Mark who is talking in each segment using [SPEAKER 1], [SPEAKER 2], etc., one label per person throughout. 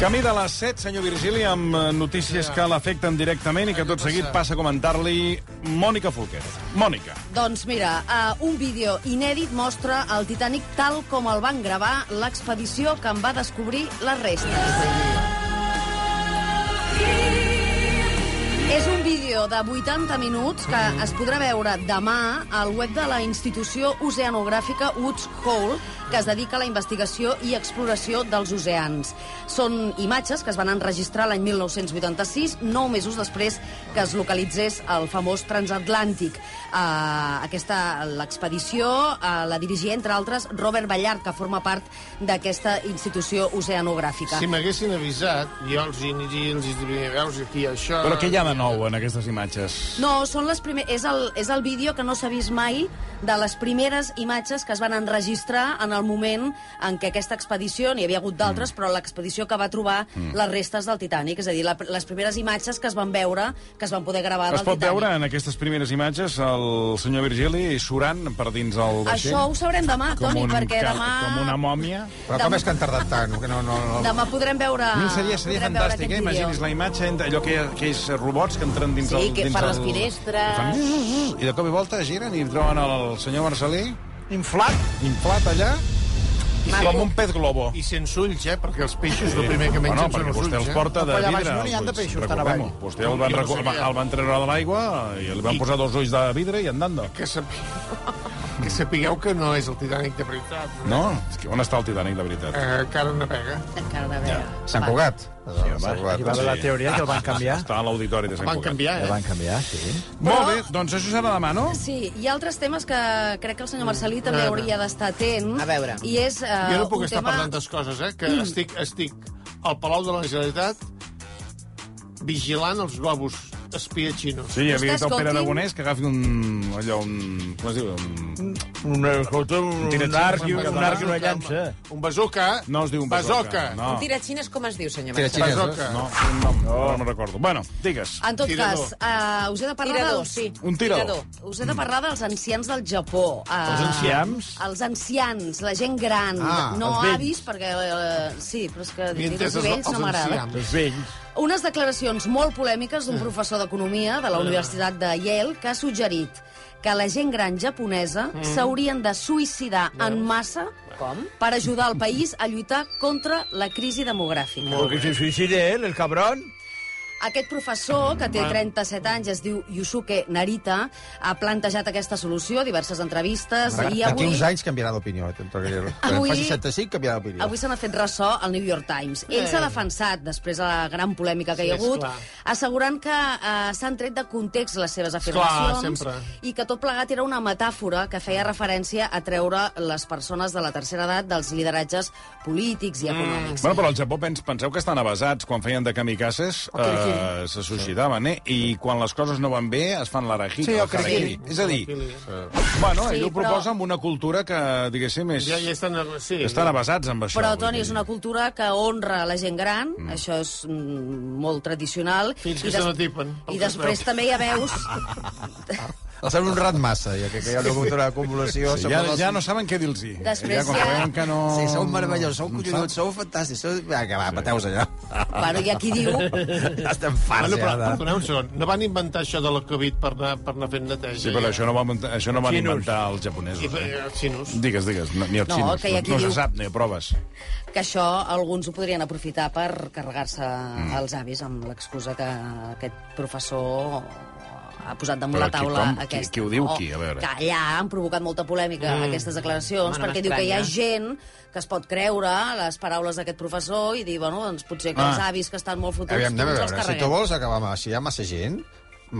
[SPEAKER 1] Camí de les 7, senyor Virgili, amb eh, notícies que l'afecten directament i que tot seguit passa a comentar-li Mònica Folquet. Mònica.
[SPEAKER 2] Doncs mira, uh, un vídeo inèdit mostra el Titanic tal com el van gravar l'expedició que en va descobrir les restes. És un vídeo de 80 minuts que es podrà veure demà al web de la institució oceanogràfica Woods Hole, que es dedica a la investigació i exploració dels oceans. Són imatges que es van enregistrar l'any 1986, nou mesos després que es localitzés el famós transatlàntic. Uh, aquesta l'expedició uh, la dirigia, entre altres, Robert Ballard, que forma part d'aquesta institució oceanogràfica.
[SPEAKER 3] Si m'haguessin avisat, jo els hi aniria, els hi diria, veus, aquí això...
[SPEAKER 1] Però què hi ha de nou en aquestes imatges?
[SPEAKER 2] No, són les primer... és, el, és el vídeo que no s'ha vist mai de les primeres imatges que es van enregistrar en el moment en què aquesta expedició, n'hi havia hagut d'altres, mm. però l'expedició que va trobar mm. les restes del Titanic, és a dir, la, les primeres imatges que es van veure, que es van poder gravar
[SPEAKER 1] Es
[SPEAKER 2] del
[SPEAKER 1] pot
[SPEAKER 2] Titanic.
[SPEAKER 1] veure en aquestes primeres imatges el senyor Virgili surant per dins el vaixell?
[SPEAKER 2] Això ho sabrem demà, Toni, perquè
[SPEAKER 1] eh? ca-
[SPEAKER 2] demà...
[SPEAKER 1] Com una mòmia?
[SPEAKER 4] Però com és que han tardat tant? Que no, no, no.
[SPEAKER 2] Demà podrem veure...
[SPEAKER 1] A mi seria, seria
[SPEAKER 2] podrem veure
[SPEAKER 1] fantàstic, eh?
[SPEAKER 2] aquest vídeo.
[SPEAKER 1] Imagini's la imatge, entre allò que, aquells robots que entren dins
[SPEAKER 5] Sí,
[SPEAKER 1] el...
[SPEAKER 5] que
[SPEAKER 1] dins
[SPEAKER 5] fan
[SPEAKER 1] el...
[SPEAKER 5] les finestres.
[SPEAKER 1] Fan... I de cop i volta giren i troben el senyor Marcelí
[SPEAKER 3] Inflat
[SPEAKER 1] inflat allà
[SPEAKER 3] Maco.
[SPEAKER 1] com un pet globo.
[SPEAKER 3] i sense ulls, eh? Perquè els peixos el primer que mengen
[SPEAKER 1] bueno, perquè
[SPEAKER 3] són els
[SPEAKER 1] vostè
[SPEAKER 3] ulls,
[SPEAKER 1] els
[SPEAKER 3] eh?
[SPEAKER 1] porta de
[SPEAKER 4] Però allà baix
[SPEAKER 1] vidre.
[SPEAKER 4] no n'hi ha
[SPEAKER 1] els
[SPEAKER 4] de
[SPEAKER 1] ulls,
[SPEAKER 4] peixos, tan
[SPEAKER 1] recordem-ho.
[SPEAKER 4] avall.
[SPEAKER 1] Vostè el van,
[SPEAKER 3] Jo no
[SPEAKER 1] reco-
[SPEAKER 3] sabia.
[SPEAKER 1] el van treure de l'aigua i li van posar dos ulls de vidre i andando.
[SPEAKER 3] Que, sap... que sapigueu que no és el Titanic de veritat.
[SPEAKER 1] No? És que On està el Titanic, de veritat?
[SPEAKER 3] Eh, encara navega.
[SPEAKER 2] Encara de veure.
[SPEAKER 4] Sant Cugat. Sí, Sant
[SPEAKER 1] home.
[SPEAKER 6] Hi va haver la teoria que el van canviar.
[SPEAKER 1] Està a l'auditori de Sant
[SPEAKER 3] Van
[SPEAKER 1] Cugat.
[SPEAKER 3] canviar,
[SPEAKER 6] El
[SPEAKER 3] eh?
[SPEAKER 6] van canviar, sí.
[SPEAKER 1] Molt bé, doncs això serà demà, no?
[SPEAKER 2] Sí, hi ha altres temes que crec que el
[SPEAKER 1] Mm.
[SPEAKER 2] senyor Marcelí també
[SPEAKER 3] Ah,
[SPEAKER 2] hauria d'estar atent.
[SPEAKER 5] A veure.
[SPEAKER 2] I és uh,
[SPEAKER 3] Jo no puc
[SPEAKER 2] un
[SPEAKER 3] estar
[SPEAKER 2] tema...
[SPEAKER 3] parlant d'altres coses, eh? Que estic, estic al Palau de la Generalitat vigilant els globus espia xinos.
[SPEAKER 1] Sí, hi
[SPEAKER 2] Vostè
[SPEAKER 1] havia dit el
[SPEAKER 2] escolti.
[SPEAKER 1] Pere Aragonès que agafi un... allò, un... com es diu? Un...
[SPEAKER 6] Un, eh, escolta, un,
[SPEAKER 1] un arc i un- un arc i
[SPEAKER 6] una llança.
[SPEAKER 3] Un bazuca.
[SPEAKER 1] No es diu un
[SPEAKER 3] bazoca.
[SPEAKER 1] No,
[SPEAKER 5] Un tiratxines com es diu, senyor
[SPEAKER 4] Tira
[SPEAKER 5] Marcelí?
[SPEAKER 4] xinès,
[SPEAKER 3] Bazoca.
[SPEAKER 1] no, té un nom, no, no me'n recordo. Bueno, digues.
[SPEAKER 2] En tot
[SPEAKER 3] Tirador.
[SPEAKER 2] cas, uh, us he de parlar
[SPEAKER 5] Tirador,
[SPEAKER 2] dels...
[SPEAKER 5] sí.
[SPEAKER 1] Un tirador.
[SPEAKER 2] Us he de parlar dels ancians del Japó. Uh,
[SPEAKER 6] Els ancians?
[SPEAKER 2] Els ancians, la gent gran.
[SPEAKER 4] Ah,
[SPEAKER 2] no
[SPEAKER 6] els vells.
[SPEAKER 2] avis, perquè... Uh, sí, però és que
[SPEAKER 3] Ni
[SPEAKER 2] dir
[SPEAKER 3] enteses
[SPEAKER 2] els vells
[SPEAKER 3] els
[SPEAKER 2] no m'agrada.
[SPEAKER 3] ancians.
[SPEAKER 6] Els vells.
[SPEAKER 2] Unes declaracions molt polèmiques d'un professor d'economia de la Universitat de Yale que ha suggerit que la gent gran japonesa s'haurien de suïcidar en massa
[SPEAKER 5] Com?
[SPEAKER 2] per ajudar el país a lluitar contra la crisi demogràfica.
[SPEAKER 6] Però que se suïcide, ell, el cabrón.
[SPEAKER 2] Aquest professor, que té 37 anys, es diu Yusuke Narita, ha plantejat aquesta solució a diverses entrevistes i
[SPEAKER 4] D'aquí
[SPEAKER 2] avui...
[SPEAKER 4] uns anys canviarà d'opinió. eh? Quan
[SPEAKER 2] Avui-
[SPEAKER 4] fa 65 canviarà d'opinió.
[SPEAKER 2] Avui se n'ha fet ressò al New York Times. Ell s'ha defensat, després de la gran polèmica que hi ha hagut,
[SPEAKER 3] esclar.
[SPEAKER 2] assegurant que eh, s'han tret de context les seves afirmacions
[SPEAKER 3] sempre.
[SPEAKER 2] i que tot plegat era una metàfora que feia referència a treure les persones de la tercera edat dels lideratges polítics i econòmics.
[SPEAKER 1] Bueno, però al Japó pens, penseu que estan avasats. Quan feien de kamikazes eh, se suïcidaven, eh? I quan les coses no van bé es fan l'arahi.
[SPEAKER 4] Sí, el
[SPEAKER 1] harakiri.
[SPEAKER 4] harakiri.
[SPEAKER 1] És a dir, bueno, ell ho proposa amb una cultura que, diguéssim, és...
[SPEAKER 3] Ja, ja estan... Sí,
[SPEAKER 1] Estan avasats amb això.
[SPEAKER 2] Però,
[SPEAKER 1] vull
[SPEAKER 2] Toni,
[SPEAKER 1] dir.
[SPEAKER 2] és una cultura que honra la gent gran, això és mm, molt tradicional.
[SPEAKER 3] Fins
[SPEAKER 2] I
[SPEAKER 3] que
[SPEAKER 2] des-
[SPEAKER 3] se n'atipen, pel
[SPEAKER 2] I
[SPEAKER 3] que es
[SPEAKER 2] després
[SPEAKER 3] veu.
[SPEAKER 2] també ja veus...
[SPEAKER 4] Els han honrat massa, ja que, que hi ha una cultura de convolució.
[SPEAKER 1] Sí, ja, ja no saben què dir-los.
[SPEAKER 2] Després
[SPEAKER 1] ja, quan
[SPEAKER 2] ja-
[SPEAKER 1] veuen que no...
[SPEAKER 4] Sí, sou meravellosos, sou collonuts, sou fantàstics. Sou... Va, que va, pateu-vos allà.
[SPEAKER 2] bueno, hi ha qui diu...
[SPEAKER 4] Ja estem farts,
[SPEAKER 3] Bueno, però,
[SPEAKER 1] eh?
[SPEAKER 4] ja. de-
[SPEAKER 3] perdoneu un segon, no van inventar això de la Covid per anar, per anar fent neteja? eh?
[SPEAKER 1] Sí, però això no, va, muntar- això no van
[SPEAKER 6] Xinos.
[SPEAKER 1] inventar els japonesos.
[SPEAKER 3] I, i,
[SPEAKER 1] Eh?
[SPEAKER 3] els xinos.
[SPEAKER 1] Digues, digues, no- ni els
[SPEAKER 2] No,
[SPEAKER 1] xinos.
[SPEAKER 2] que hi ha qui
[SPEAKER 1] no, no
[SPEAKER 2] diu-
[SPEAKER 1] se sap, ni a proves.
[SPEAKER 2] que això alguns ho podrien aprofitar per carregar-se mm. els avis amb l'excusa que aquest professor ha posat damunt
[SPEAKER 1] Però
[SPEAKER 2] la
[SPEAKER 1] qui-
[SPEAKER 2] taula
[SPEAKER 1] com? Qui-
[SPEAKER 2] aquesta.
[SPEAKER 1] qui ho diu,
[SPEAKER 2] No,
[SPEAKER 1] qui? A veure.
[SPEAKER 2] Que allà han provocat molta polèmica mm. aquestes declaracions,
[SPEAKER 5] Home, no
[SPEAKER 2] perquè diu que hi ha
[SPEAKER 5] m'estranya.
[SPEAKER 2] gent que es pot creure les paraules d'aquest professor i dir, bueno, doncs potser que
[SPEAKER 1] Ah.
[SPEAKER 2] els avis que estan molt fotuts,
[SPEAKER 4] Aviam, anem a
[SPEAKER 2] doncs els
[SPEAKER 4] veure, si tu
[SPEAKER 2] carreguem.
[SPEAKER 4] vols acabar amb... Si hi ha massa gent,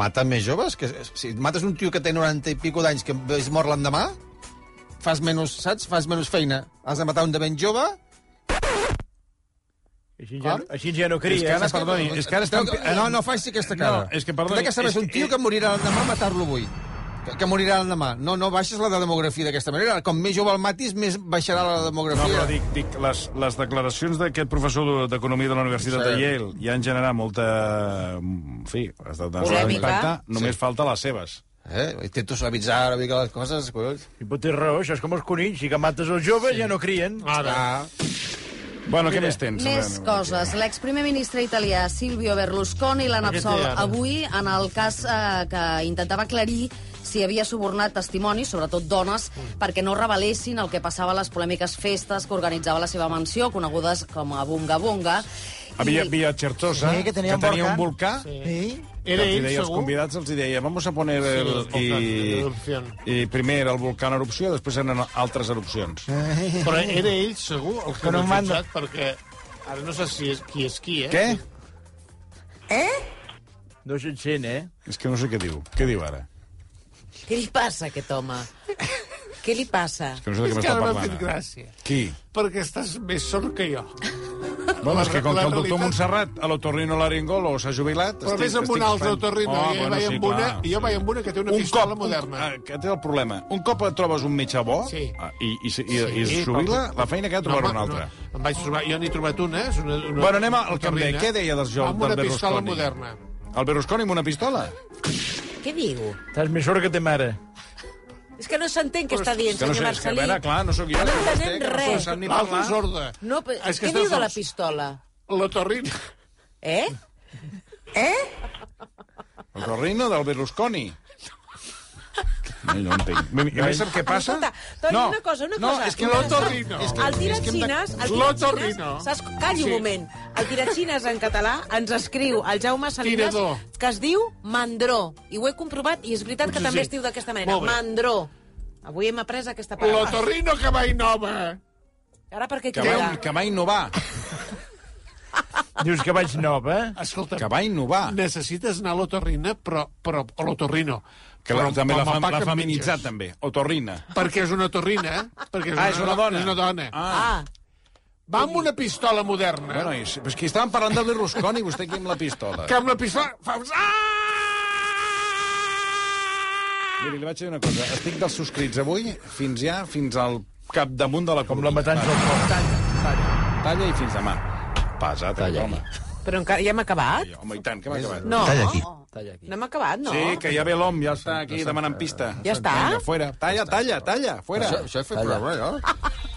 [SPEAKER 4] mata més joves. Que, si mates un tio que té 90 i pico d'anys que es mor l'endemà, fas menys, saps? Fas menys feina. Has de matar un de ben jove...
[SPEAKER 6] Així ja,
[SPEAKER 4] Com?
[SPEAKER 6] així ja no
[SPEAKER 1] És que
[SPEAKER 6] cria.
[SPEAKER 1] ara- perdoni, és que ara estan-
[SPEAKER 4] No, no faci aquesta cara.
[SPEAKER 1] No, és que, perdoni,
[SPEAKER 4] Crec que
[SPEAKER 1] és
[SPEAKER 4] saps
[SPEAKER 1] que-
[SPEAKER 4] un
[SPEAKER 1] eh
[SPEAKER 4] tio que morirà l'endemà, matar-lo avui. que, que morirà l'endemà. No, no baixes la de demografia d'aquesta manera. Com més jove el matis, més baixarà la
[SPEAKER 1] No,
[SPEAKER 4] demografia.
[SPEAKER 1] però dic, dic les, les declaracions d'aquest professor d'Economia de la Universitat
[SPEAKER 4] Sí.
[SPEAKER 1] de Yale ja han generat molta... En fi, ha estat de
[SPEAKER 5] Polèmica.
[SPEAKER 1] Només
[SPEAKER 4] Sí.
[SPEAKER 1] falta les seves.
[SPEAKER 4] Eh? Intento suavitzar una mica les coses, collons.
[SPEAKER 6] I pot tenir raó, això és com els conills. Si que mates els joves, ja no crien.
[SPEAKER 3] Ara.
[SPEAKER 4] Ah,
[SPEAKER 1] Bueno, què més tens?
[SPEAKER 2] Més
[SPEAKER 1] Bueno,
[SPEAKER 2] coses. L'exprimer ministre italià Silvio Berlusconi l'han
[SPEAKER 3] Aquest
[SPEAKER 2] absolt
[SPEAKER 3] té ara.
[SPEAKER 2] avui en el cas eh, que intentava aclarir si havia subornat testimonis, sobretot dones,
[SPEAKER 1] Mm.
[SPEAKER 2] perquè no revelessin el que passava a les polèmiques festes que organitzava la seva mansió, conegudes com a Bunga Bunga.
[SPEAKER 1] Havia Via Certosa,
[SPEAKER 7] Sí, que tenia un
[SPEAKER 1] volcà.
[SPEAKER 7] Sí?
[SPEAKER 3] Era
[SPEAKER 1] I els hi
[SPEAKER 3] ell,
[SPEAKER 1] deia als
[SPEAKER 3] segur?
[SPEAKER 1] convidats, els hi deia, vamos a poner el...
[SPEAKER 3] Sí, el volcán en
[SPEAKER 1] i,
[SPEAKER 3] erupción.
[SPEAKER 1] I primer era el volcà en erupció, després eren altres erupcions.
[SPEAKER 3] Però era ell, segur, el que
[SPEAKER 7] Que no
[SPEAKER 3] no
[SPEAKER 7] em
[SPEAKER 3] ha
[SPEAKER 7] manda.
[SPEAKER 3] jutjat, perquè ara no sé si és, qui és qui, eh?
[SPEAKER 1] Què?
[SPEAKER 6] No se'n sent, eh?
[SPEAKER 1] És que no sé què diu. Què diu ara?
[SPEAKER 5] Què li passa, a aquest home? Què li passa?
[SPEAKER 1] Que no sé de
[SPEAKER 3] És
[SPEAKER 1] què
[SPEAKER 3] que
[SPEAKER 1] m'està
[SPEAKER 3] ara m'ha
[SPEAKER 1] parlant.
[SPEAKER 3] fet
[SPEAKER 1] ara.
[SPEAKER 3] gràcia.
[SPEAKER 1] Qui?
[SPEAKER 3] Perquè estàs més sort que jo.
[SPEAKER 1] Bueno, és que com
[SPEAKER 3] la
[SPEAKER 1] que el doctor
[SPEAKER 3] realitat-
[SPEAKER 1] Montserrat a l'otorrino laringolo s'ha jubilat...
[SPEAKER 3] Però vés amb una altra autorritme, oh, bueno, vaig sí, amb una, i jo vaig amb una que té una pistola moderna.
[SPEAKER 1] Un, Ah, que té el problema. Un cop et trobes un metge bo
[SPEAKER 3] Sí.
[SPEAKER 1] ah, i, i, i, i, i es
[SPEAKER 3] Sí,
[SPEAKER 1] jubila,
[SPEAKER 3] però-
[SPEAKER 1] la feina que ha de trobar
[SPEAKER 3] home,
[SPEAKER 1] una altra.
[SPEAKER 3] No, em vaig trobar, jo n'he trobat una, eh? és una... una
[SPEAKER 1] Bueno, anem al que em
[SPEAKER 3] torrina.
[SPEAKER 1] deia. Què deia dels jocs
[SPEAKER 3] Amb una
[SPEAKER 1] del
[SPEAKER 3] pistola
[SPEAKER 1] Berlusconi?
[SPEAKER 3] moderna.
[SPEAKER 1] El Berlusconi amb una pistola?
[SPEAKER 5] Què diu?
[SPEAKER 6] Estàs més sort que te mare.
[SPEAKER 5] És que no s'entén què està dient,
[SPEAKER 1] que no
[SPEAKER 5] senyor
[SPEAKER 1] sé, és que, a
[SPEAKER 5] Marcelí.
[SPEAKER 1] veure, clar, no sóc jo.
[SPEAKER 5] No
[SPEAKER 1] que vostè,
[SPEAKER 5] entenem
[SPEAKER 1] que no
[SPEAKER 5] res.
[SPEAKER 1] sap ni
[SPEAKER 3] L'altra
[SPEAKER 1] parlar.
[SPEAKER 3] és sorda.
[SPEAKER 5] No, però,
[SPEAKER 1] Ah,
[SPEAKER 3] És que
[SPEAKER 5] què
[SPEAKER 3] està
[SPEAKER 5] diu de la
[SPEAKER 3] sords.
[SPEAKER 5] pistola?
[SPEAKER 3] La torrina.
[SPEAKER 5] Eh?
[SPEAKER 1] El Torrino del Berlusconi. No, jo no entenc. I a més, sap què passa?
[SPEAKER 5] Escolta, Toni, una cosa, una
[SPEAKER 1] no,
[SPEAKER 5] cosa.
[SPEAKER 1] és que
[SPEAKER 5] Una-
[SPEAKER 3] l'otorrino.
[SPEAKER 5] És que- El tiratxines... El tiratxines...
[SPEAKER 3] L'otorrino.
[SPEAKER 5] Saps? Calli
[SPEAKER 3] Sí.
[SPEAKER 5] un moment. El tiratxines en català ens escriu el Jaume Salinas
[SPEAKER 3] Tirador.
[SPEAKER 5] que es diu Mandró. I ho he comprovat i és veritat que
[SPEAKER 3] Potser
[SPEAKER 5] també
[SPEAKER 3] sí.
[SPEAKER 5] es diu d'aquesta manera.
[SPEAKER 3] Molt bé.
[SPEAKER 5] Mandró. Avui hem après aquesta
[SPEAKER 3] La
[SPEAKER 5] paraula.
[SPEAKER 3] torrino que va innova.
[SPEAKER 5] Ara per què
[SPEAKER 1] Que va,
[SPEAKER 5] cridar?
[SPEAKER 1] que va innovar.
[SPEAKER 6] Dius que vaig nova, eh?
[SPEAKER 3] Escolta,
[SPEAKER 1] Que va innovar.
[SPEAKER 3] necessites anar a l'otorrina, però, però a l'otorrino.
[SPEAKER 1] Que la,
[SPEAKER 3] Però-
[SPEAKER 1] també
[SPEAKER 3] però
[SPEAKER 1] l'ha
[SPEAKER 3] amb el
[SPEAKER 1] fem-
[SPEAKER 3] pa
[SPEAKER 1] l'ha
[SPEAKER 3] que em
[SPEAKER 1] feminitzat,
[SPEAKER 3] menges.
[SPEAKER 1] també. O Torrina.
[SPEAKER 3] Perquè és una torrina, eh? Perquè
[SPEAKER 1] Ah, és una dona.
[SPEAKER 3] És una dona. Ah.
[SPEAKER 5] Ah,
[SPEAKER 3] Va amb una pistola moderna,
[SPEAKER 1] Bueno, és, però és que estàvem parlant del Berlusconi, vostè aquí amb la pistola.
[SPEAKER 3] que amb la pistola fa uns...
[SPEAKER 1] Miri, li vaig dir una cosa. Estic dels subscrits avui fins ja, fins al capdamunt de la
[SPEAKER 6] Com la matança al
[SPEAKER 1] Va,
[SPEAKER 6] foc.
[SPEAKER 1] Talla i fins demà. Pesat, Talla. home.
[SPEAKER 5] però encara ja hem acabat?
[SPEAKER 1] Jo, Home, i tant, que m'ha acabat.
[SPEAKER 5] No.
[SPEAKER 4] Talla aquí.
[SPEAKER 5] No hem acabat, no?
[SPEAKER 1] Sí, que ja ve l'hom, ja està aquí demanant pista.
[SPEAKER 5] Ja està?
[SPEAKER 1] Vinga, fuera. Talla, talla, talla, fuera.
[SPEAKER 4] Això, això he fet programa, jo?